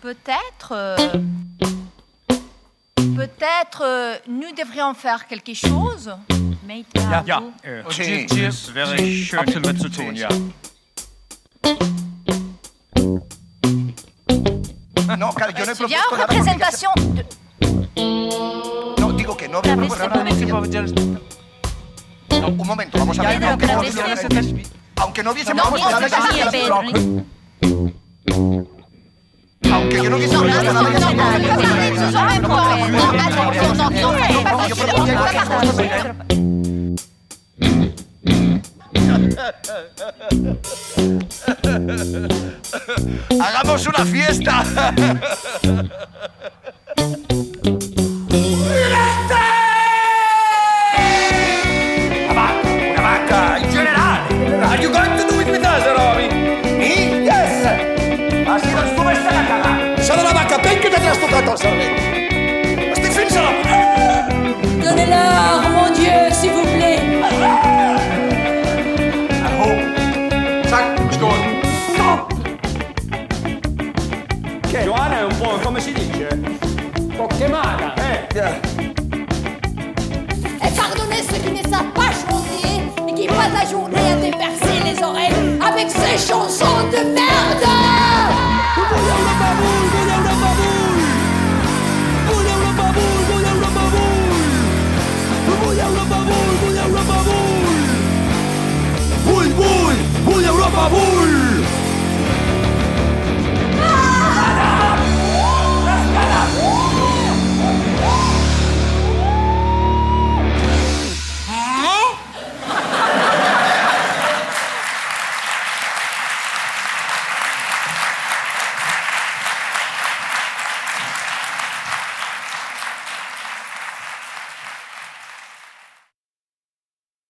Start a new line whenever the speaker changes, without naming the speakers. peut-être, euh, peut-être euh, nous devrions faire quelque chose. Mais
Ja,
ja.
ja. Äh, Cheers,
Okay.
cheers. Wäre schön,
Absolut.
etwas zu tun, ja.
No, claro, yo no he
Il y a une
propuesto nada. porque Pues ya se-
représentation de-
No, digo que no.
La
propongo
vez
nada porque
se
ya- No, un momento, vamos a
Ya,
ver.
no,
aunque
pero
no
es que
hubiéramos-
eso
Aunque no hubiésemos
No,
propuesto
digo,
nada, ya
sí,
se hubiera
pero-
aprobado. Aunque yo no hubiese
Non,
propuesto
non,
nada, ya se
non, non,
hubiera aprobado.
non, non, non, non, non, attention, non, non, non, parce que on va pas partir.
¡Hagamos una fiesta!
Una vacca in generale. Are you going to do it with us, Roby? Me? Yes. Ma se non tu vai stare a cagare. Sono la vacca, perché ti ha stuccato il sorvente? Ma stai finendo?
Donnez-leur, oh mon Dieu, s'il vous plaît.
Ah, oh. Che Joana è un po', come si dice? Un po' chiamata. Eh.
Et pardonnez ceux qui ne savent pas chanter et qui passent la journée à déverser les oreilles avec ces chansons de merde
Bull, bull, bull Europa Bull!